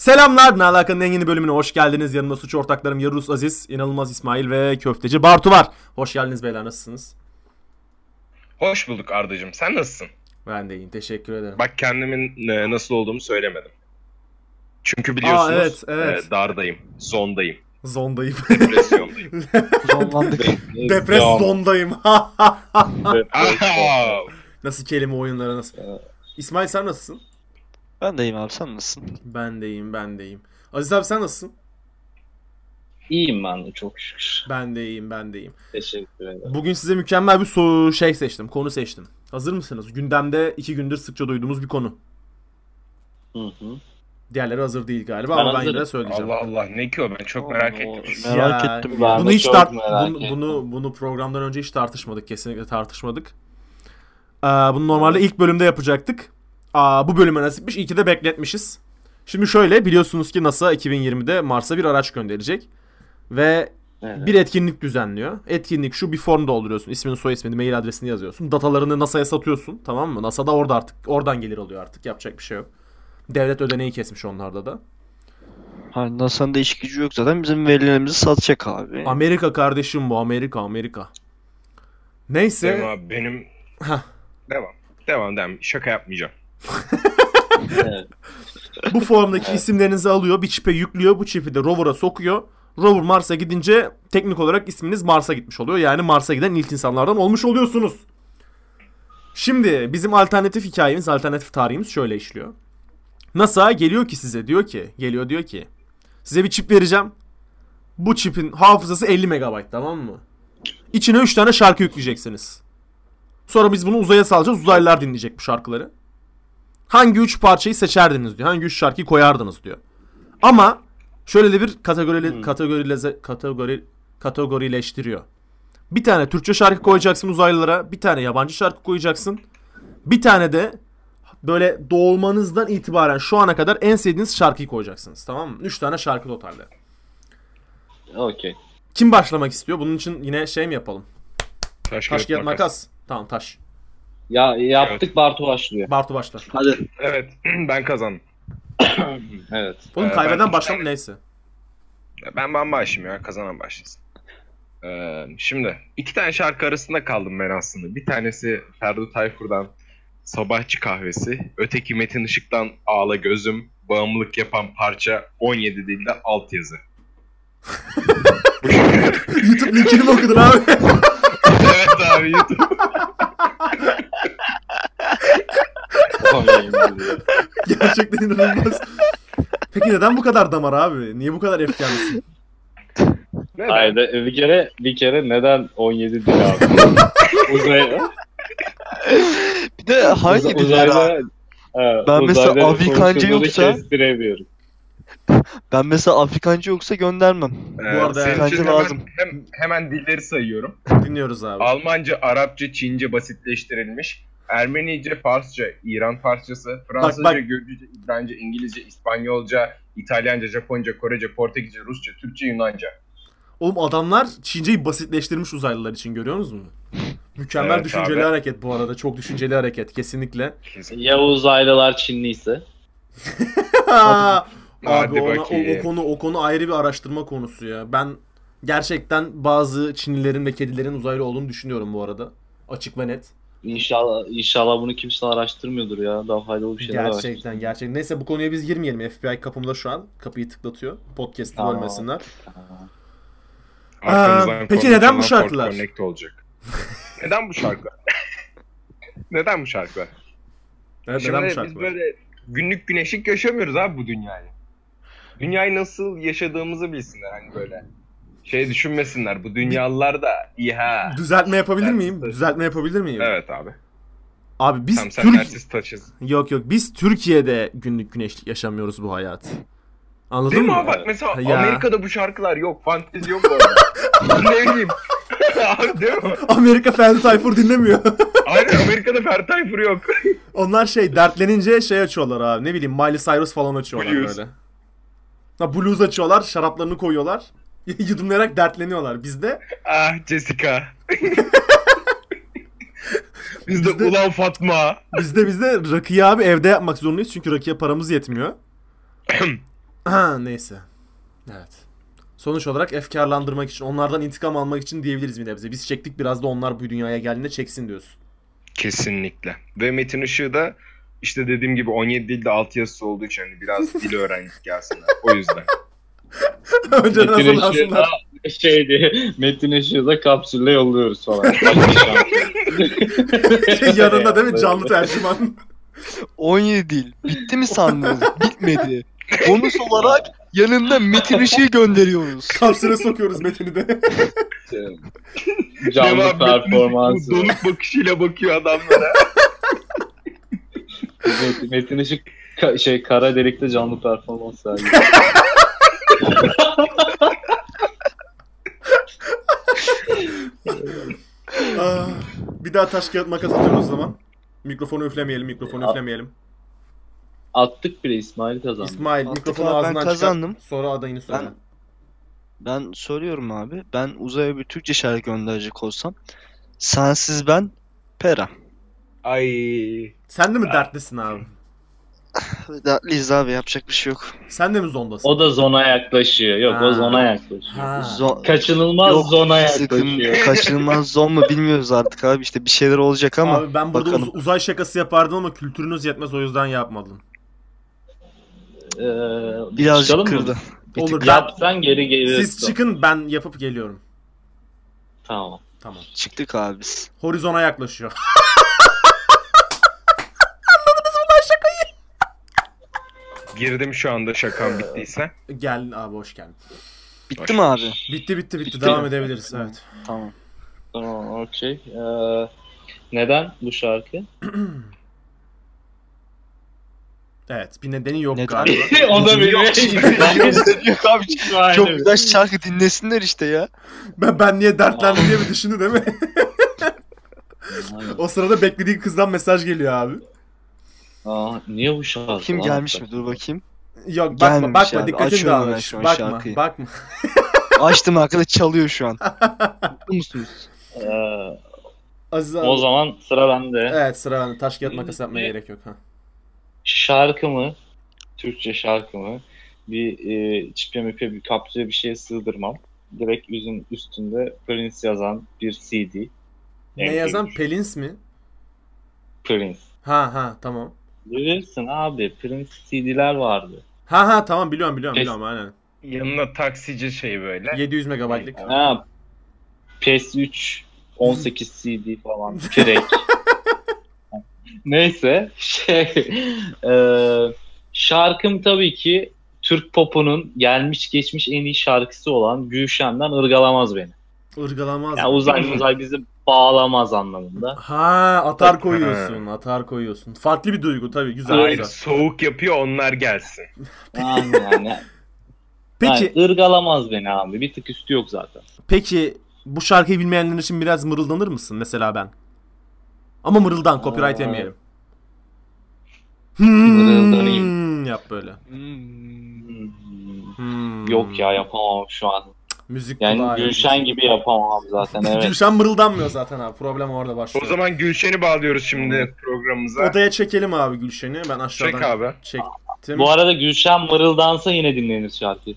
Selamlar, Ne Alaka'nın en yeni bölümüne hoş geldiniz. Yanımda suç ortaklarım Yarus Aziz, İnanılmaz İsmail ve Köfteci Bartu var. Hoş geldiniz beyler, nasılsınız? Hoş bulduk Arda'cığım. Sen nasılsın? Ben de iyiyim, teşekkür ederim. Bak kendimin e, nasıl olduğumu söylemedim. Çünkü biliyorsunuz Aa, evet, evet. e, dardayım, zondayım, Zondayım. depresyondayım. Zorlandık. Depres Devam. zondayım. Aha! nasıl kelime oyunları nasıl? İsmail sen nasılsın? ben de iyiyim abi sen nasılsın? Ben de iyiyim, ben de iyiyim. Aziz abi sen nasılsın? İyiyim ben de çok şükür. Ben de iyiyim, ben de iyiyim. Teşekkür ederim. Bugün size mükemmel bir soru şey seçtim, konu seçtim. Hazır mısınız? Gündemde iki gündür sıkça duyduğumuz bir konu. Hı hı. Diğerleri hazır değil galiba Ben ama ben yine hazırım. de söyleyeceğim. Allah Allah ne ki o ben çok merak Oo, ettim. Şey, şimdi. Merak Ya, ettim ben- ya. bunu hiç çok tart- merak bunu, ettim. bunu bunu programdan önce hiç tartışmadık kesinlikle tartışmadık. Ee, bunu normalde ilk bölümde yapacaktık. Aa, bu bölüme nasipmiş. İyi ki de bekletmişiz. Şimdi şöyle biliyorsunuz ki NASA 2020'de Mars'a bir araç gönderecek. Ve Evet. bir etkinlik düzenliyor. Etkinlik şu bir form dolduruyorsun. İsmini, soy ismini, mail adresini yazıyorsun. Datalarını NASA'ya satıyorsun tamam mı? NASA da orada artık oradan gelir alıyor artık. Yapacak bir şey yok. Devlet ödeneği kesmiş onlarda da. Hani NASA'nın da iş gücü yok zaten bizim verilerimizi satacak abi. Amerika kardeşim bu Amerika Amerika. Benim Neyse. abi benim... Hah. devam. Devam devam. Şaka yapmayacağım. Evet. Bu formdaki Evet. isimlerinizi alıyor, bir çipe yüklüyor, bu çipi de rover'a sokuyor. Rover Mars'a gidince teknik olarak isminiz Mars'a gitmiş oluyor. Yani Mars'a giden ilk insanlardan olmuş oluyorsunuz. Şimdi bizim alternatif hikayemiz, alternatif tarihimiz şöyle işliyor. NASA geliyor ki size diyor ki, geliyor diyor ki size bir çip vereceğim. Bu çipin hafızası 50 MB tamam mı? İçine 3 tane şarkı yükleyeceksiniz. Sonra biz bunu uzaya salacağız. Uzaylılar dinleyecek bu şarkıları. Hangi üç parçayı seçerdiniz diyor. Hangi üç şarkıyı koyardınız diyor. Ama şöyle de bir kategorili, kategorileze- kategori, kategorileştiriyor. Bir tane Türkçe şarkı koyacaksın uzaylılara. Bir tane yabancı şarkı koyacaksın. Bir tane de böyle doğulmanızdan itibaren şu ana kadar en sevdiğiniz şarkıyı koyacaksınız. Tamam mı? Üç tane şarkı totalde. Okey. Kim başlamak istiyor? Bunun için yine şey mi yapalım? Taş, Taş kağıt, kağıt makas. Tamam taş. Ya yaptık Bartu başlıyor. Bartu başla. Hadi. Evet ben kazandım. Evet. Oğlum Ee, ben kaybeden üç başlam tane- neyse. Ben ben başlayayım ya. Kazanan başlasın. Ee, şimdi iki tane şarkı arasında kaldım ben aslında. Bir tanesi Ferdi Tayfur'dan Sabahçı Kahvesi. Öteki Metin Işık'tan Ağla Gözüm. Bağımlılık yapan parça 17 dilde altyazı. YouTube linkini mi okudun abi? evet abi YouTube. Gerçekten inanılmaz. Peki neden bu kadar damar abi? Niye bu kadar efkarlısın? Ne Hayır lan? bir kere bir kere neden 17 değil abi? Uzay, Bir de hangi uzay- bir uzayda Ha, Ben mesela uzayda Afrikancı konuşulduğunu yoksa- kestiremiyorum. Ben mesela Afrikancı yoksa göndermem. Ee, arada senin için bence hemen- lazım. hem- hemen dilleri sayıyorum. Dinliyoruz abi. Almanca, Arapça, Çince basitleştirilmiş. Ermenice, Farsça, İran Farsçası, Fransızca, bak. Gürcüce, İbranice, İngilizce, İspanyolca, İtalyanca, Japonca, Korece, Portekizce, Rusça, Türkçe, Yunanca. Oğlum adamlar Çince'yi basitleştirmiş uzaylılar için görüyorsunuz mu? Mükemmel Evet düşünceli abi. hareket bu arada. Çok düşünceli hareket kesinlikle. Kesin. Ya uzaylılar Çinliyse? abi Hadi ona, o, o bakayım. konu o konu ayrı bir araştırma konusu ya. Ben gerçekten bazı Çinlilerin ve kedilerin uzaylı olduğunu düşünüyorum bu arada. Açık ve net. İnşallah inşallah bunu kimse araştırmıyordur ya. Daha faydalı bir şeyler araştırsın. Gerçekten gerçekten. Neyse bu konuya biz girmeyelim. FBI kapımda şu an. Kapıyı tıklatıyor. Podcast'ı Tamam. bölmesinler. Arkamızdan Ee, peki konuşan neden bu Ford şarkılar? Connect olacak. neden bu şarkılar? neden bu şarkılar? Evet, Şimdi neden bu biz şarkı var? böyle günlük güneşlik yaşamıyoruz abi bu dünyayı. Dünyayı nasıl yaşadığımızı bilsinler hani böyle. Şey düşünmesinler bu dünyalılar da iyi ha. Düzeltme yapabilir Evet, miyim? tabii. Düzeltme yapabilir miyim? Evet abi. Abi biz Tam sen Türk dersiz taşız. yok yok biz Türkiye'de günlük güneşlik yaşamıyoruz bu hayat. Anladın Değil mi mı? abi? Bak mesela Ya. Amerika'da bu şarkılar yok. Fantezi yok orada. ne bileyim. abi değil mi? Amerika Ferdi Tayfur dinlemiyor. Aynen Amerika'da Fer Tayfur yok. Onlar şey dertlenince şey açıyorlar abi. Ne bileyim Miley Cyrus falan açıyorlar Blues. böyle. Ha blues açıyorlar, şaraplarını koyuyorlar. Yudumlayarak dertleniyorlar. Bizde ah Jessica. Bizde Bizde- Ulan Fatma. Bizde bizde rakıyı abi evde yapmak zorundayız çünkü rakıya paramız yetmiyor. Neyse. Evet. Sonuç olarak efkarlandırmak için, onlardan intikam almak için diyebiliriz bir nebze. Biz çektik biraz da onlar bu dünyaya geldiğinde çeksin diyorsun. Kesinlikle. Ve Metin Işığı da işte dediğim gibi 17 dilde alt yazısı olduğu için hani biraz dil öğrendik gelsinler. O yüzden. Önce Metin nasıl Işık'ı alsınlar? da şeydi. Metin Işık'ı da kapsülle yolluyoruz falan. şey Yanında değil mi canlı tercüman? 17 değil. Bitti mi sandınız? Bitmedi. Bonus olarak yanında Metin Işık'ı gönderiyoruz. Kapsüle sokuyoruz Metin'i de. Canlı Devam performansı. Metin Işık bu Donuk bakışıyla bakıyor adamlara. Metin, Metin Işık ka- şey kara delikte canlı performans sergiledi. Ah, bir daha taş kağıt makas atıyoruz o zaman. Mikrofonu üflemeyelim, mikrofonu üflemeyelim. Attık bile İsmail kazandı. İsmail Mantıklı mikrofonu abi, ben ağzından kazandım. çıkar. Sonra adayını söyle. Ben- Ben soruyorum abi. Ben uzaya bir Türkçe şarkı gönderecek olsam. Sensiz ben Pera. Ay. Sen de mi dertlisin abi? Dertliyiz abi yapacak bir şey yok. Sen de mi zondasın? O da zona yaklaşıyor. Yok Ha. o zona yaklaşıyor. Ha. Zo- Kaçınılmaz Yok, zona Sıkın, yaklaşıyor. kaçınılmaz zon mu bilmiyoruz artık abi. İşte bir şeyler olacak ama. Abi ben burada bakalım. uz- uzay şakası yapardım ama kültürünüz yetmez o yüzden yapmadım. Ee, çıkalım Birazcık mı? kırdı. Bir Olur. tık Ben, Yapsan geri geri. siz çıkın ben yapıp geliyorum. Tamam. Tamam. çıktık abi biz. Horizona yaklaşıyor. Girdim şu anda şakan bittiyse. Gel abi hoş geldin. Bitti mi abi? Bitti bitti bitti Bitti devam mi? edebiliriz evet. Tamam. Tamam okey. Ee, neden bu şarkı? Evet bir nedeni yok Neden? galiba. o da benim. Yok abi. Çok güzel şarkı dinlesinler işte ya. Ben, ben niye dertlendim diye bir düşündü değil mi? o sırada beklediği kızdan mesaj geliyor abi. Aa, niye bu şarkı? Kim lan? gelmiş mi? Dur bakayım. Yok bakma Gelmemiş bakma abi, dikkatin açıyorum ben dağılmış. şu an Bakma şarkıyı. bakma. Açtım arkada çalıyor şu an. Mutlu musunuz? Ee, Aziz abi. o zaman sıra Ee, bende. Evet sıra bende. Taş kağıt makas yapmaya gerek yok. Ha. şarkımı, Türkçe şarkımı bir e, çipe mipe bir kapsüle bir şeye sığdırmam. Direkt yüzün üstünde Prince yazan bir CD. Ne MP3. yazan? Pelins mi? Prince. Ha ha tamam. Bilirsin abi Prince CD'ler vardı. Ha ha tamam biliyorum biliyorum Pes- biliyorum aynen. Yanına taksici şey böyle. 700 megabaytlık. Ha, PS3 18 CD falan. Pirek. Neyse şey e, şarkım tabii ki Türk popunun gelmiş geçmiş en iyi şarkısı olan Gülşen'den ırgalamaz beni. Irgalamaz. Yani uzay uzay bizi bağlamaz anlamında. Ha atar koyuyorsun atar koyuyorsun. Farklı bir duygu tabii güzel Böyle güzel. soğuk yapıyor onlar gelsin. Yani, yani, Peki yani ırgalamaz beni abi. Bir tık üstü yok zaten. peki bu şarkıyı bilmeyenler için biraz mırıldanır mısın mesela ben? Ama mırıldan copyright Aa. yemeyelim. Mırıldanayım. Hmm, yap böyle. Hmm. Yok ya yapamam şu an. Müzik Yani kulağı yok. Gülşen gibi yapamam abi zaten evet. Gülşen mırıldanmıyor zaten abi. Problem orada başlıyor. O zaman Gülşen'i bağlıyoruz şimdi programımıza. odaya çekelim abi Gülşen'i. Ben aşağıdan Çek abi. çektim. Bu arada Gülşen mırıldansa yine dinlenir şarkı.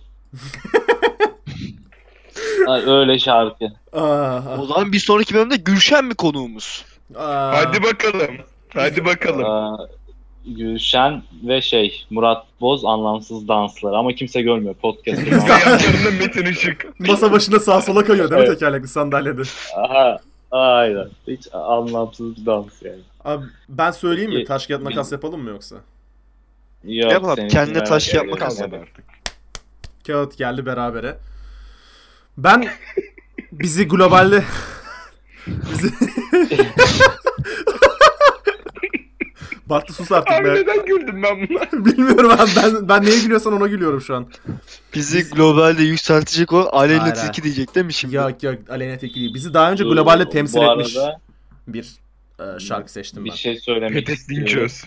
Ay, Öyle şarkı. Aa, O zaman bir sonraki bölümde Gülşen mi konuğumuz? aa. Hadi bakalım. Hadi bakalım. Ee, Gülşen ve şey Murat Boz anlamsız dansları ama kimse görmüyor podcast'ı. Ve yanlarında Metin Işık. Masa başında sağa sola kayıyor değil mi Evet. tekerlekli sandalyede? Aha, aynen. Hiç anlamsız bir dans yani. Abi ben söyleyeyim mi? Peki, Taş kağıt makas yapalım mı yoksa? Yok, Yap abi, senin kendine merak taş etme. yapmak Kalmadı lazım. artık. Kağıt geldi berabere. Ben bizi globalde bizi Bartu sus artık Abi be. neden güldüm ben buna? Bilmiyorum abi ben, ben neye gülüyorsan ona gülüyorum şu an. Bizi globalde yükseltecek olan Hayır, Aleyna hayır. Tilki diyecek değil mi şimdi? Yok yok Aleyna Tilki değil. Bizi daha önce Dur, globalde temsil bu etmiş arada bir e, şarkı seçtim bir ben. şey söylemek Petek istiyorum. Dinçöz.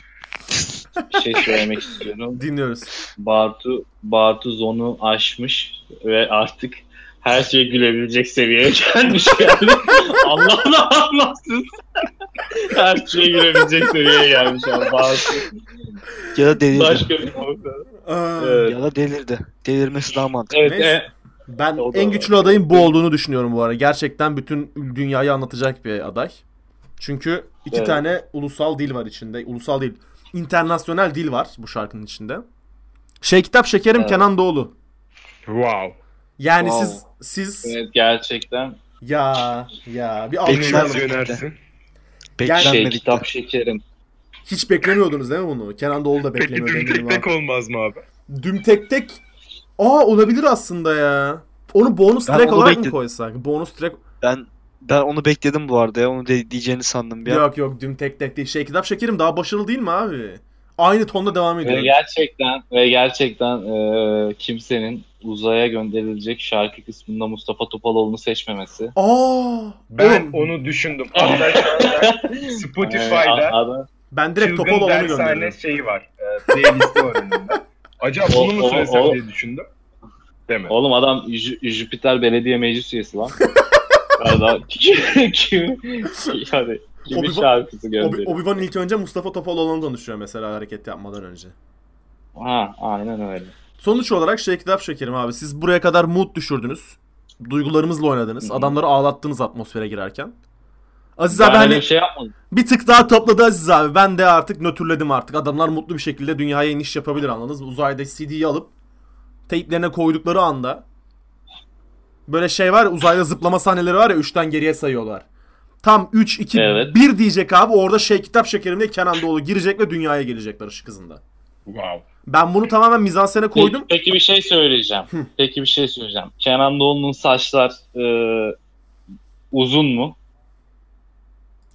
Bir şey söylemek istiyorum. Dinliyoruz. Bartu Bartu zonu aşmış ve artık her şeye gülebilecek seviyeye gelmiş yani. Allah'ını anlatsın. şey her şeye gülebilecek seviyeye gelmiş yani Bartu. Ya da deli. Başka bir boyuta. Ee, Evet. Ya da delirdi. Delirmesi daha mantıklı. Evet, Neyse. e, ben o da- en güçlü adayın bu olduğunu düşünüyorum bu ara. Gerçekten bütün dünyayı anlatacak bir aday. Çünkü iki Evet. tane ulusal dil var içinde. Ulusal değil. internasyonel dil var bu şarkının içinde. Şey kitap şekerim Evet. Kenan Doğulu. Wow. Yani Wow. siz siz evet, gerçekten ya ya bir Peki, alkışlar Nasıl ben- yönersin? şey Beklenmedik. kitap şekerim. Hiç beklemiyordunuz değil mi bunu? Kenan Doğulu da Peki beklemiyor düm eminim tek tek ha. olmaz mı abi? Düm tek tek. Aa olabilir aslında ya. Onu bonus Ben track onu olarak mı bekledim. koysak? Bonus track. Ben ben onu bekledim bu arada ya. Onu de- diyeceğini sandım bir an. Yok yok düm tek tek değil. Şey kitap şekerim daha başarılı değil mi abi? Aynı tonda devam ediyor. Ve gerçekten ve gerçekten e, kimsenin uzaya gönderilecek şarkı kısmında Mustafa Topaloğlu'nu seçmemesi. Aa! Ben oğlum, onu düşündüm. Hatta şu anda Spotify'da Yani E, a- adam- ben direkt Çılgın Topaloğlu'nu dershane gönderirim. şeyi var. E, playlisti var önümde. Acaba O- bunu mu o- söylesem o- diye düşündüm. Deme. Oğlum adam Jü- Jüpiter Belediye Meclis üyesi lan. Ya da kim, kim, yani kimin Obi- şarkısı Obi- gönderiyor? Obi-Wan ilk önce Mustafa Topaloğlu'nu danışıyor mesela hareket yapmadan önce. ha aynen öyle. Sonuç olarak şey kitap şekerim abi. Siz buraya kadar mood düşürdünüz. Duygularımızla oynadınız. Hı hı. Adamları ağlattınız atmosfere girerken. Aziz Ben abi öyle hani bir şey yapmadım. bir tık daha topladı Aziz abi. Ben de artık nötrledim artık. Adamlar mutlu bir şekilde dünyaya iniş yapabilir anladınız mı? Uzayda CD'yi alıp teyplerine koydukları anda böyle şey var ya uzayda zıplama sahneleri var ya 3'ten geriye sayıyorlar. Tam 3, 2, Evet. 1 diyecek abi orada şey kitap şekerimde Kenan Doğulu girecek ve dünyaya gelecekler ışık hızında. Wow. Ben bunu tamamen mizansene koydum. Peki, peki bir şey söyleyeceğim. Hı. Peki bir şey söyleyeceğim. Kenan Doğulu'nun saçlar e, uzun mu?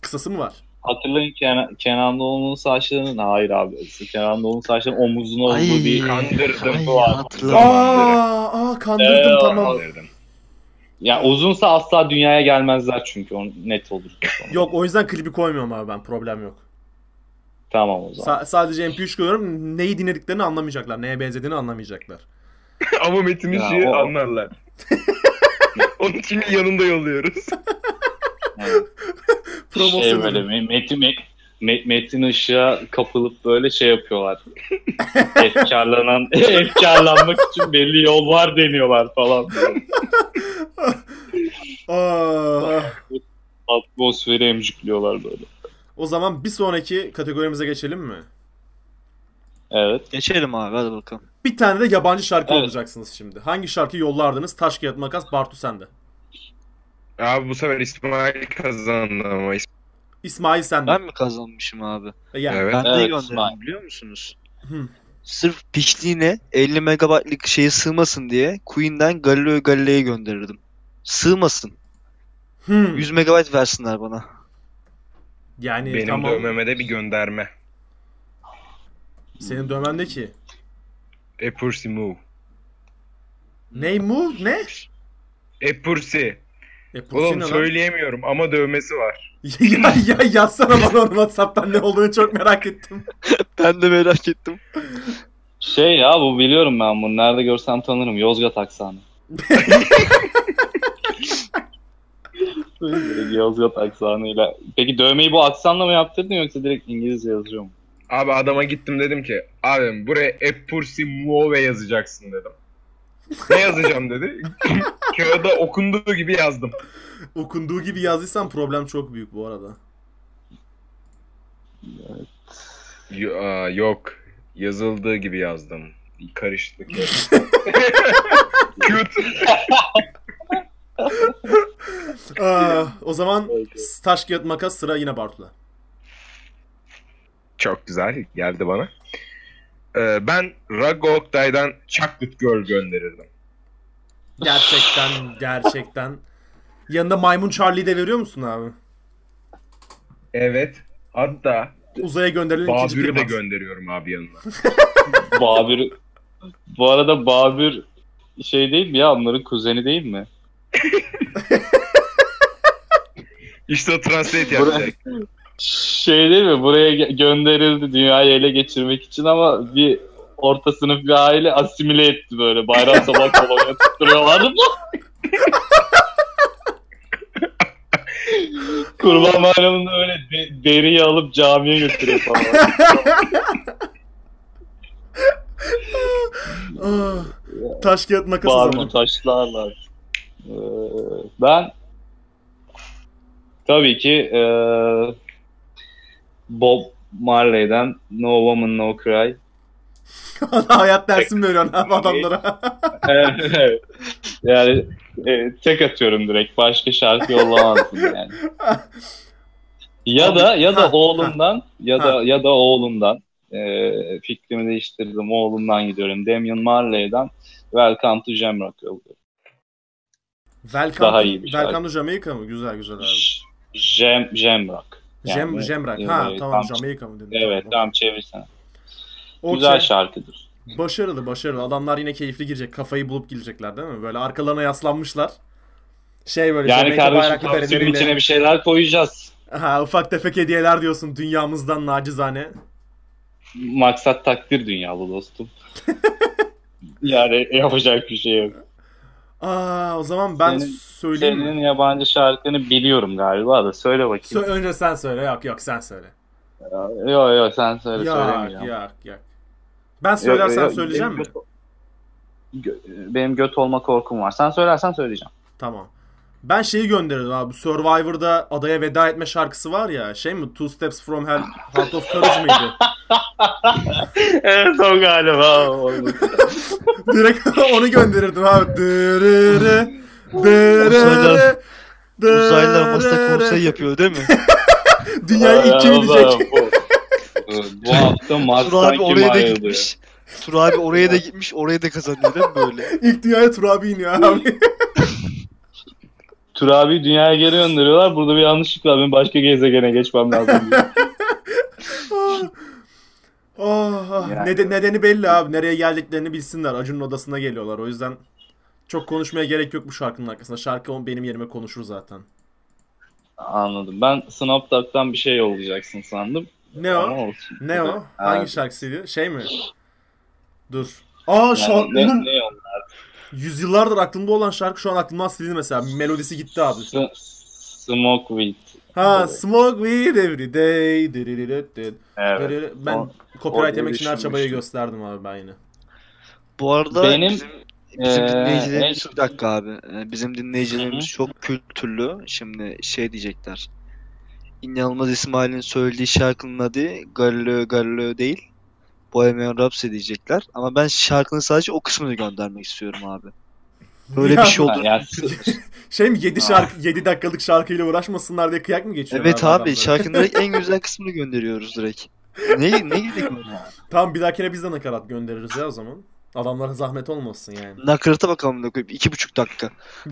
Kısası mı var? Hatırlayın Kenan, Kenan Doğulu'nun saçlarının hayır abi. Kenan Doğulu'nun saçlarının omuzuna olduğu Ay. bir Kandırdım. Ay, bu adam. hatırladım. Aa, aa kandırdım Ee, tamam. Kandırdım. Ya uzunsa asla dünyaya gelmezler çünkü o net olur. Yok o yüzden klibi koymuyorum abi ben problem yok. Tamam o zaman. Sa- sadece MP3 koyuyorum neyi dinlediklerini anlamayacaklar. Neye benzediğini anlamayacaklar. Ama Metin'in Ya, şeyi o- anlarlar. Onun için yanında yolluyoruz. Evet. Promosyon Şey böyle ürünü. Me- Metin, Me- Me- Metin Işık'a kapılıp böyle şey yapıyorlar. efkarlanan, efkarlanmak için belli yol var deniyorlar falan. Aa, Atmosferi emcikliyorlar böyle. o zaman bir sonraki kategorimize geçelim mi? Evet. Geçelim abi hadi bakalım. Bir tane de yabancı şarkı Evet. olacaksınız şimdi. Hangi şarkı yollardınız? Taş kağıt makas Bartu sende. Abi bu sefer İsmail kazandı ama İsmail İsmail sende. Ben mi kazanmışım abi? Yani. Evet. Ben de Evet, gönderdim İsmail. biliyor musunuz? Hı. Sırf piçliğine 50 megabaytlık şeye sığmasın diye Queen'den Galileo Galilei'ye gönderirdim. Sığmasın. Hmm. 100 megabayt versinler bana. Yani benim tamam. dövmeme de bir gönderme. Senin dövmende ki. A pussy E move. Ne move ne? A pussy. E, Pussy Oğlum ne lan? söyleyemiyorum ama dövmesi var. ya, ya yazsana bana onu WhatsApp'tan ne olduğunu çok merak ettim. Ben de merak ettim. Şey ya bu biliyorum ben bunu. Nerede görsem tanırım. Yozgat aksanı. Direkt Yozgat aksanıyla. Peki dövmeyi bu aksanla mı yaptırdın yoksa direkt İngilizce yazıyor mu? Abi adama gittim dedim ki abim buraya A pussy move yazacaksın dedim. Ne yazacağım dedi. Kağıda okunduğu gibi yazdım. Okunduğu gibi yazdıysan problem çok büyük bu arada. Yo- aa, yok. Yazıldığı gibi yazdım. Karıştık. Küt. Aa, o zaman Peki. taş kağıt makas sıra yine Bartu'da. Çok güzel geldi bana. Ee, ben Rago Oktay'dan Chocolate Girl gönderirdim. Gerçekten gerçekten. Yanında maymun Charlie'yi de veriyor musun abi? Evet. Hatta Uzaya gönderilen ikinci Babür'ü de primat. gönderiyorum abi yanına. Babür bu arada Babür şey değil mi ya onların kuzeni değil mi? İşte o translate Buraya- yapacak. Şey değil mi buraya ge- gönderildi dünyayı ele geçirmek için ama bir orta sınıf bir aile asimile etti böyle bayram sabah kolonya tutturuyorlardı Kurban bayramında öyle de- deriyi alıp camiye götürüyor falan. Ah, Taş kağıt makas o Bağırma zaman. taşlarla. Ee, ben tabii ki e, Bob Marley'den No Woman No Cry. Hayat dersi mi veriyorsun abi adamlara? Evet. yani e, tek atıyorum direkt. Başka şarkı yollamazdım yani. Ya da ya da Ha, oğlumdan ya ha. da ya da oğlumdan e, fikrimi değiştirdim. Oğlumdan gidiyorum. Damian Marley'den Welcome to Jamrock yolluyorum. Welcome, Daha to- iyi bir Welcome to Jamaica mı? Güzel güzel abi. J- Jem, Jemrak. Jem, Jemrak. Ha e, tamam tam- Jamaica mı dedin? Evet Tamam. tam çevirsene. Okey. Güzel şarkıdır. Başarılı başarılı. Adamlar yine keyifli girecek. Kafayı bulup girecekler değil mi? Böyle arkalarına yaslanmışlar. Şey böyle Yani Jamaica kardeşim bayraklı kapsülün bereleriyle. içine bir şeyler koyacağız. Ha, ufak tefek hediyeler diyorsun dünyamızdan nacizane. Maksat takdir dünyalı dostum. yani yapacak bir şey yok. Aa o zaman ben Senin- söyleyeyim mi? Senin yabancı şarkını biliyorum galiba da söyle Sö- bakayım. önce sen söyle. Yok yok sen söyle. Yok yok sen söyle Yok söylemeyeceğim. yok yok. Ben söylersem Yok, yok, söyleyeceğim benim mi? göt- gö- benim göt olma korkum var. Sen söylersen söyleyeceğim. Tamam. Ben şeyi gönderirdim abi. Survivor'da adaya veda etme şarkısı var ya. Şey mi? Two Steps From Hell, Heart of Courage mıydı? evet o galiba. Direkt onu gönderirdim abi. Dırırı, Uzaylar- dırırı, Uzaylılar masa dırırı. konsey yapıyor değil mi? Dünyayı ilk kim Allah'ım, bilecek? Bu, bu hafta Tur Mars'tan abi kim oraya da ayrıldı? gitmiş. Tur abi oraya da gitmiş, oraya da kazanıyor değil mi böyle? İlk dünyaya Turabi iniyor abi. Tur abi dünyaya geri gönderiyorlar. Burada bir yanlışlık var. Benim başka gezegene geçmem lazım. diyor. Oh, oh. Yani. Neden- Ah, nedeni belli abi. Nereye geldiklerini bilsinler. Acun'un odasına geliyorlar. O yüzden çok konuşmaya gerek yok bu şarkının arkasında. Şarkı on benim yerime konuşur zaten. Anladım. Ben Snapdog'dan bir şey yollayacaksın sandım. Ne o? Ama olsun. Ne o? Ha, Hangi şarkısıydı? Şey mi? Dur. Aa yani şarkı ne, oğlum, ne yolla? yüzyıllardır aklımda olan şarkı şu an aklımdan silindi mesela. Melodisi gitti abi. S- Smokeweed. Ha, Evet. Smoke Weed Every Day. diriririririr. Evet. Diririr- Ben O- copyright orada yemek için her çabayı düşünmüştüm. gösterdim abi ben yine. Bu arada Benim, e, bizim, bizim eee, dinleyicilerimiz en- bir dakika abi. Ee, Bizim dinleyicilerimiz Ee, Hı çok kültürlü. Şimdi şey diyecekler. İnanılmaz İsmail'in söylediği şarkının adı Galileo Galileo değil. Bohemian Rhapsody diyecekler. Ama ben şarkının sadece o kısmını göndermek istiyorum abi. Böyle bir şey Ha, olur. yani s- Şey mi 7 Ha. şarkı 7 dakikalık şarkıyla uğraşmasınlar diye kıyak mı Şey geçiyor? Evet abi adamlara? şarkının en güzel kısmını gönderiyoruz direkt. Ne, ne gerek var? Tamam bir dahakine biz de nakarat göndeririz ya o zaman. Adamlara zahmet olmasın yani. Nakarata bakalım da koyup iki buçuk dakika.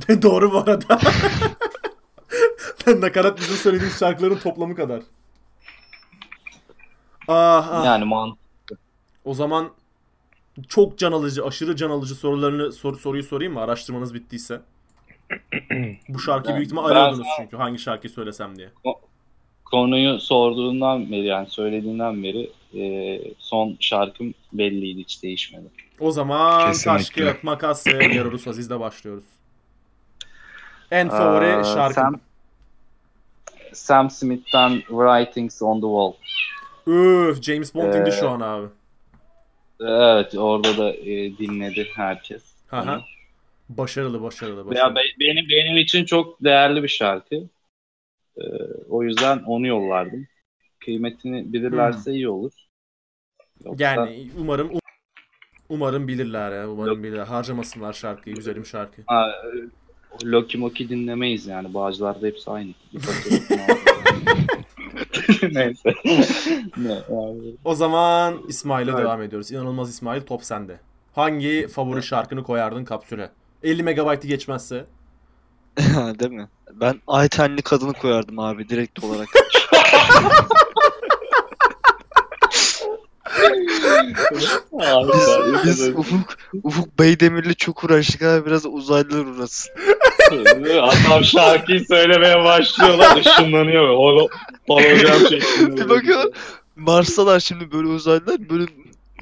Doğru bu arada. nakarat bizim söylediğimiz şarkıların toplamı kadar. Ah ah. yani man. O zaman çok can alıcı, aşırı can alıcı sorularını sor- soruyu sorayım mı? Araştırmanız bittiyse. Bu şarkıyı Ben- büyük ihtimal ben- arıyordunuz çünkü hangi şarkıyı söylesem diye. Konuyu sorduğundan beri yani söylediğinden beri e, son şarkım belliydi hiç değişmedi. O zaman taş Kesinlikle. kağıt makas ve yararız azizle başlıyoruz. En favori Ee, şarkım. Sam, Sam Smith'ten Writings on the Wall. Üf James Bond indi Ee, şu an abi. Evet orada da e, dinledi herkes. Hı hı. Onu. Başarılı başarılı başarılı. Ya be- benim benim için çok değerli bir şarkı. Ee, o yüzden onu yollardım. Kıymetini bilirlerse iyi olur. Yoksa- Yani umarım umarım bilirler ya. Umarım bilirler. Harcamasınlar şarkıyı. Güzelim şarkı. Ha, e, Loki Moki dinlemeyiz yani. Bağcılarda hepsi aynı. Neyse. ne, yani. O zaman İsmail'e Evet. devam ediyoruz. İnanılmaz İsmail top sende. Hangi favori şarkını koyardın kapsüle? 50 megabaytı geçmezse. Değil mi? Ben ay tenli kadını koyardım abi direkt olarak. Abi, ben- Biz Ufuk, Ufuk Beydemir'le çok uğraştık abi biraz da uzaylılar uğraşsın. Adam şarkıyı söylemeye başlıyorlar. ışınlanıyor. Holo, hologram şeklinde. Bir bakıyorum Mars'talar şimdi böyle uzaylılar böyle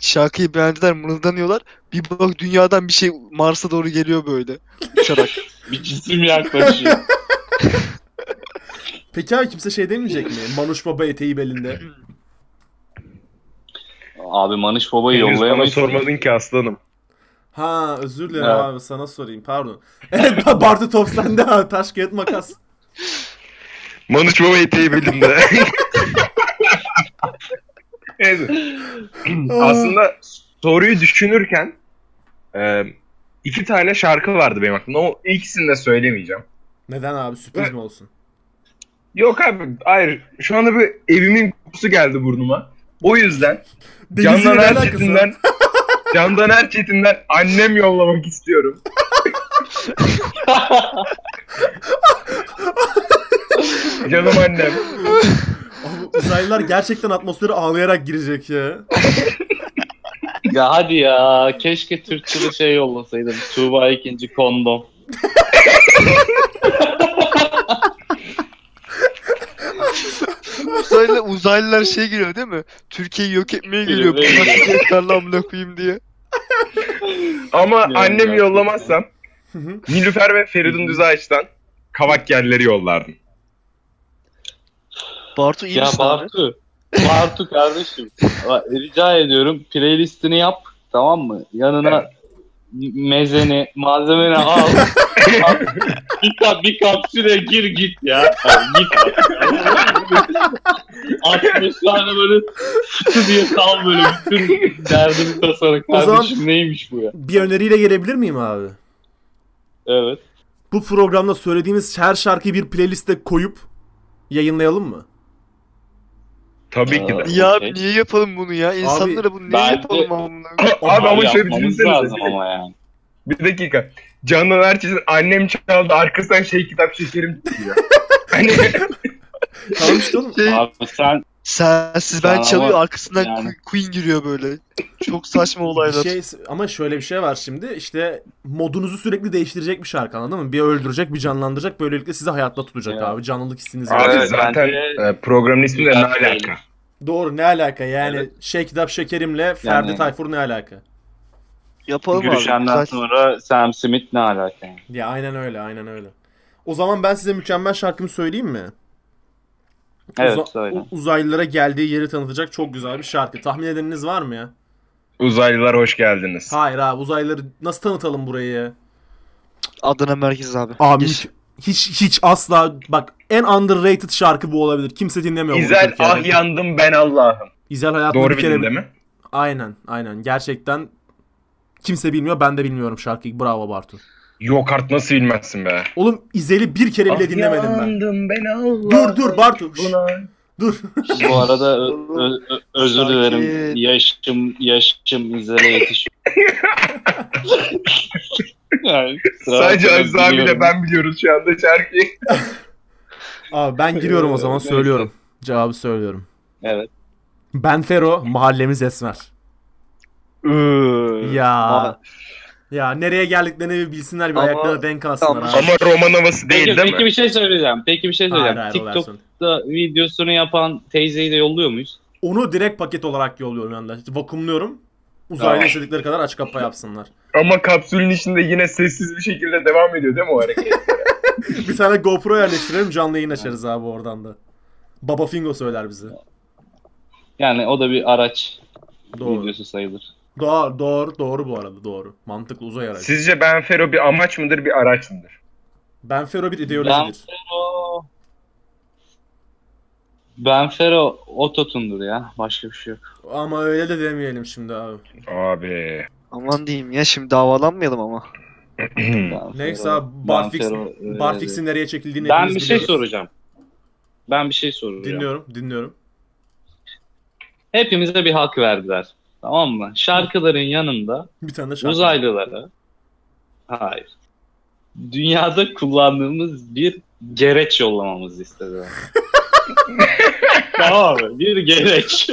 şarkıyı beğendiler mırıldanıyorlar. Bir bak dünyadan bir şey Mars'a doğru geliyor böyle. Uçarak. Bir cisim yaklaşıyor. Peki abi kimse şey demeyecek mi? Manuş Baba eteği belinde. Abi Manış Baba'yı Henüz bana yollayamayız. sormadın ki aslanım. Ha özür dilerim Evet. abi sana sorayım pardon. Evet ba- Bartu top sende abi taş kağıt makas. Manuç Baba eteği bildim de. Neyse. Aslında soruyu düşünürken e, iki tane şarkı vardı benim aklımda. O ikisini de söylemeyeceğim. Neden abi sürpriz Evet. mi olsun? Yok abi hayır. Şu anda bir evimin kokusu geldi burnuma. O yüzden Deniz'in Candan ne alakası var? Erçetin'den Candan Erçetin'den annem yollamak istiyorum. Canım annem. Abi, uzaylılar gerçekten atmosfere ağlayarak girecek ya. ya hadi ya. Keşke Türkçe'de şey yollasaydım. Tuğba ikinci kondom. Uzaylı, uzaylılar şey geliyor değil mi? Türkiye'yi yok etmeye geliyor. Geliyor, Bunlar geliyor. tekrar amına koyayım diye. Ama Yani annem gerçekten. yollamazsam Hı hı. Nilüfer ve Feridun Düzağaç'tan kavak yerleri yollardım. Bartu iyi ya misin abi? Bartu. Bartu kardeşim. Bak, Rica ediyorum. Playlistini yap. Tamam mı? Yanına mezeni, malzemeni al. bir, kap, bir kapsüle gir git ya. Yani git. 60 tane böyle fıtı diye sal böyle bütün derdini tasarak. O zaman- Kardeşim neymiş bu ya? Bir öneriyle gelebilir miyim abi? Evet. Bu programda söylediğimiz her şarkıyı bir playliste koyup yayınlayalım mı? Tabii ki de. Aa. Ya Okey. abi niye yapalım bunu ya? İnsanlara bunu niye bence- yapalım amına koyayım? Abi ama Onları şöyle yapmamız lazım düşünsenize. ama yani. Bir dakika. Candan Erçetin annem çaldı arkasından şey kitap şekerim diyor. hani Tamam işte oğlum. Şey, Abi sen sensiz ben Ama- çalıyor arkasından yani. Queen- Queen giriyor böyle. Çok saçma Bir olaylar. şey, ama şöyle bir şey var şimdi işte modunuzu sürekli değiştirecek bir şarkı anladın mı? Bir öldürecek bir canlandıracak böylelikle sizi hayatta tutacak Evet. abi canlılık hissiniz. Abi, var. abi bence- zaten e, programın ismi de ne Ben- alaka? Doğru ne alaka yani Shake It Up Şekerim'le Ferdi Yani- Tayfur ne alaka? Yapalım abi. görüşenden Güzel. sonra Sam Smith ne alaka yani? Ya aynen öyle aynen öyle. O zaman ben size mükemmel şarkımı söyleyeyim mi? Evet Uza- söyle. u- uzaylılara geldiği yeri tanıtacak çok güzel bir şarkı. Tahmin edeniniz var mı ya? Uzaylılar hoş geldiniz. Hayır abi uzaylıları nasıl tanıtalım burayı? Adana merkez abi. Abi Geç. hiç hiç asla bak en underrated şarkı bu olabilir. Kimse dinlemiyor bunu İzel Türkiye'de. ah yandım ben Allah'ım. İzel hayatını Doğru bir kere... bildim değil mi? Aynen aynen gerçekten kimse bilmiyor ben de bilmiyorum şarkıyı. Bravo Bartu. Yok art nasıl bilmezsin be? Oğlum İzel'i bir kere bile dinlemedim ben. yandım ben Allah'ım. Dur dur Bartu. şşt, Buna- dur. Bu arada ö- ö- ö- özür Sanki- dilerim. Yaşım yaşım izlere yetişiyor. yani, kusura Sadece bakmayın, Aziz abiyle biliyorum. ben biliyoruz şu anda şarkıyı. Abi ben giriyorum o zaman Neyse. söylüyorum. Cevabı söylüyorum. Evet. Ben Fero, mahallemiz Esmer. Iıı. Ya. Ama- Ya nereye geldiklerini bir bilsinler bir Ama- ayaklarına denk alsınlar Ama- abi. Ama şey roman havası değil Peki, değil peki mi? bir şey söyleyeceğim. Peki bir şey Hayır, söyleyeceğim. hayır, o TikTok'ta versiyon. videosunu yapan teyzeyi de yolluyor muyuz? Onu direkt paket olarak yolluyorum yanında. Vakumluyorum. Uzaylı Tamam. istedikleri kadar aç kapa yapsınlar. şey- Ama kapsülün içinde yine sessiz bir şekilde devam ediyor değil mi o hareket? bir tane GoPro yerleştirelim canlı yayın açarız abi oradan da. Baba Fingo söyler bize. Yani o da bir araç Doğru. videosu sayılır. Doğru, doğru, doğru bu arada doğru. Mantıklı uzay aracı. Sizce Ben Fero bir amaç mıdır bir araç mıdır? Ben Fero bir Ben ideolojidir. Fero... Ben Fero ototundur ya. Başka bir şey yok. Ama öyle de demeyelim şimdi abi. Abi. Aman diyeyim ya şimdi davalanmayalım ama. Ben Neyse Fero- abi Barfix, Ben Fero, e, Barfix'in nereye çekildiğini Ben hepimiz bir şey biliyoruz. soracağım. Ben bir şey soracağım. Dinliyorum, dinliyorum. Hepimize bir hak verdiler. Tamam mı? Şarkıların yanında Bir tane de şarkı. uzaylılara hayır. Dünyada kullandığımız bir gereç yollamamızı istediler. tamam mı? Bir gereç.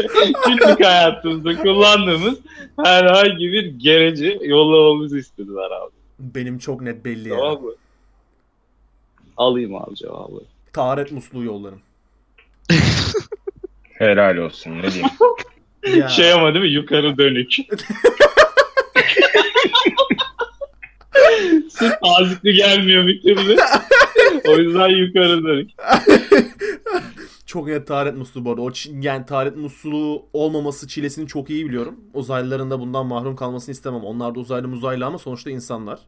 Günlük hayatımızda kullandığımız herhangi bir gereci yollamamızı istediler abi. Benim çok net belli ya. Tamam mı? Alayım abi cevabı. Taharet musluğu yollarım. Helal olsun ne diyeyim. Ya. Şey ama değil mi? Yukarı dönük. Sırf azıklı gelmiyor bir türlü. O yüzden yukarı dönük. Çok net Taharet Musluğu bu arada. O çi- yani Taharet Musluğu olmaması çilesini çok iyi biliyorum. Uzaylıların da bundan mahrum kalmasını istemem. Onlar da uzaylı muzaylı ama sonuçta insanlar.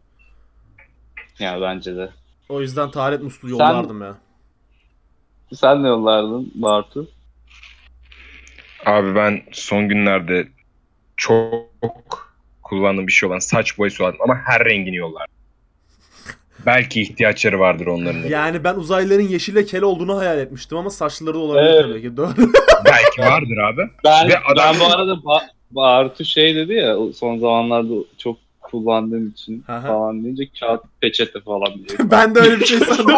Ya bence de. O yüzden Taharet Musluğu Sen- yollardım ya. Sen ne yollardın Bartu? Abi ben son günlerde çok kullandığım bir şey olan saç boyası olan ama her rengini yollar. Belki ihtiyaçları vardır onların. da. Yani ben uzaylıların yeşile kel olduğunu hayal etmiştim ama saçları da olabilir Evet. tabii ki. Doğru. Belki vardır abi. Ben, Ve adam- ben bu arada Ba- Bartu şey dedi ya o son zamanlarda çok kullandığım için Aha. falan deyince kağıt peçete falan diye. ben de öyle bir şey sandım.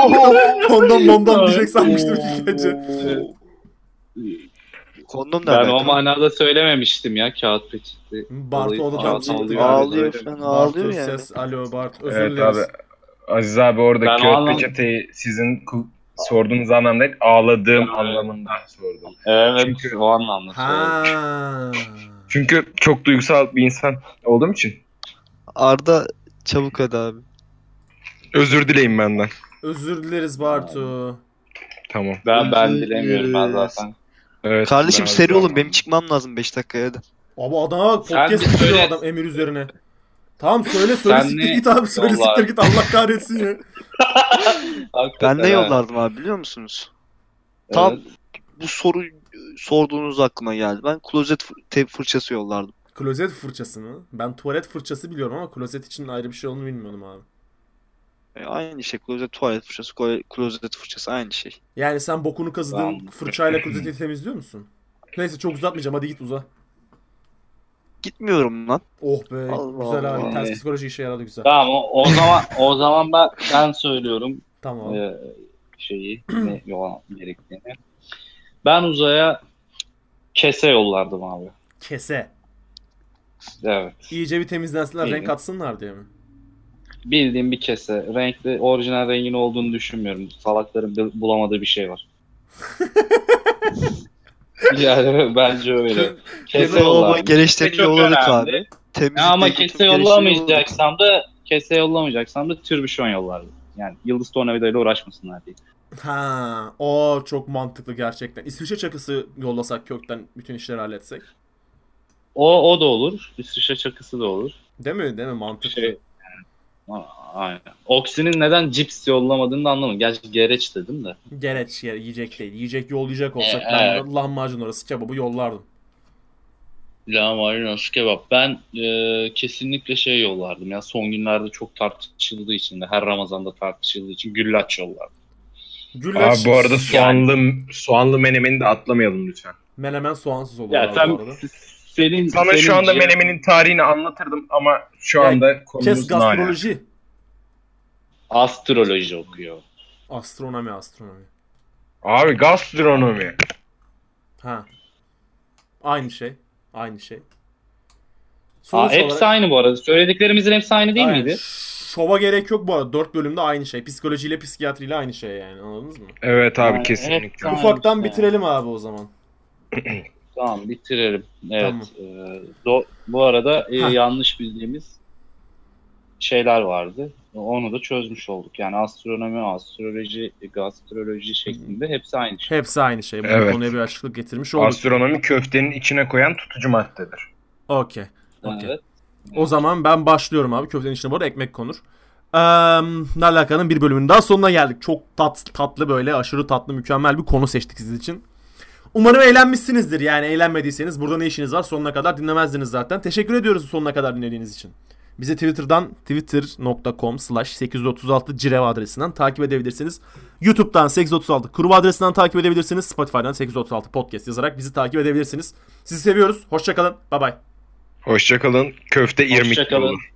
Ondan mondan diyecek sanmıştım ilk önce. Kondom Ben nerede? o manada söylememiştim ya kağıt peçete. Bartu onu Ağlıyor, tam ağlıyor. Ağlıyor Öyle. falan Bartu ağlıyor yani. ses. Alo Bart. Özür Evet dileriz. abi. Aziz abi orada Ben o kağıt anlam- peçeteyi sizin ku- sorduğunuz anlamda değil, ağladığım Evet. anlamında sordum. Evet Çünkü- o anlamda söyledim. Ha. Çünkü çok duygusal bir insan olduğum için. Arda çabuk hadi abi. Özür dileyin benden. Özür dileriz Bartu. Tamam. Ben, ben bilemiyorum ben zaten. Evet, Kardeşim ben- seri olun benim çıkmam lazım 5 dakikaya da. Abi adama bak Sen podcast bir yapıyor söyle. adam emir üzerine. Tamam söyle söyle Sen siktir ne- git abi söyle Vallahi. siktir git Allah kahretsin ya. Ben Hakikaten ne ha. yollardım abi biliyor musunuz? Evet. Tam bu soru sorduğunuz aklıma geldi. Ben klozet fır- te- fırçası yollardım. Klozet fırçası mı? Ben tuvalet fırçası biliyorum ama klozet için ayrı bir şey olduğunu bilmiyordum abi. E, aynı şey klozet tuvalet fırçası, klo- klozet fırçası aynı şey. Yani sen bokunu kazıdığın Tamam. fırçayla klozeti temizliyor musun? Neyse çok uzatmayacağım hadi git uza. Gitmiyorum lan. Oh be Allah güzel abi Allah. ters psikoloji işe yaradı güzel. Tamam o, o zaman o zaman ben ben söylüyorum Tamam. e, şeyi ne yola gerektiğini. Ben uzaya kese yollardım abi. Kese. Evet. İyice bir temizlensinler İyi. renk atsınlar diye mi? Bildiğim bir kese. Renkli orijinal rengin olduğunu düşünmüyorum. Salakların bil- bulamadığı bir şey var. yani bence öyle. Kese Kese olma yollardım. gereçlerini Çok yolladık önemli. abi. Temizlik Ya ama gereçleri kese yolladık. yollamayacaksam da kese yollamayacaksam da türbüşon yollardım. Yani yıldız tornavidayla uğraşmasınlar diye. Ha, o çok mantıklı gerçekten. İsviçre çakısı yollasak kökten bütün işleri halletsek. O o da olur. İsviçre çakısı da olur. Değil mi? Değil mi? Mantıklı. Şey, A- Aynen. Oksinin neden cips yollamadığını da anlamadım. Gerçi gereç dedim de. Gereç ya- yiyecek değil. Yiyecek yollayacak olsak E, ben evet. lahmacun orası kebabı yollardım. Lahmacun arası kebap. Ben e, kesinlikle şey yollardım. Ya son günlerde çok tartışıldığı için de her Ramazan'da tartışıldığı için güllaç yollardım. Güllaç, Abi bu arada soğanlı soğanlı menemeni de atlamayalım lütfen. menemen soğansız olur Ya abi sen bu arada. senin Sana senin şu anda ciğer- menemenin tarihini anlatırdım ama şu Ya, anda Kes konumuz nane. gastroloji. astroloji okuyor. Astronomi astronomi. Abi gastronomi. Ha. Aynı şey. Aynı şey. Aa, Sonuç hepsi olarak- aynı bu arada. Söylediklerimizin hepsi aynı değil Aynen. miydi? Şova gerek yok bu arada. Dört bölümde aynı şey. Psikolojiyle psikiyatriyle aynı şey yani. Anladınız mı? Evet abi Yani evet, kesinlikle. tamam. Ufaktan yani. bitirelim abi o zaman. Tamam bitirelim. Evet. Tamam. e, do- bu arada e, Heh. yanlış bildiğimiz şeyler vardı. Onu da çözmüş olduk. Yani astronomi, astroloji, gastroloji şeklinde hepsi aynı şey. Hepsi aynı şey. Bu Evet. konuya bir açıklık getirmiş olduk. Astronomi köftenin içine koyan tutucu maddedir. Okey. Okey. Evet. O zaman ben başlıyorum abi. Köftenin içine bu arada ekmek konur. Eee Nalaka'nın bir bölümünün daha sonuna geldik. Çok tat, tatlı böyle aşırı tatlı mükemmel bir konu seçtik sizin için. Umarım eğlenmişsinizdir. Yani eğlenmediyseniz burada ne işiniz var sonuna kadar dinlemezdiniz zaten. Teşekkür ediyoruz sonuna kadar dinlediğiniz için. Bizi Twitter'dan twitter.com slash 836 cirev adresinden takip edebilirsiniz. Youtube'dan 836 kuru adresinden takip edebilirsiniz. Spotify'dan 836 podcast yazarak bizi takip edebilirsiniz. Sizi seviyoruz. Hoşçakalın. Bay bay. Hoşçakalın. Köfte irmik Hoşçakalın. olur.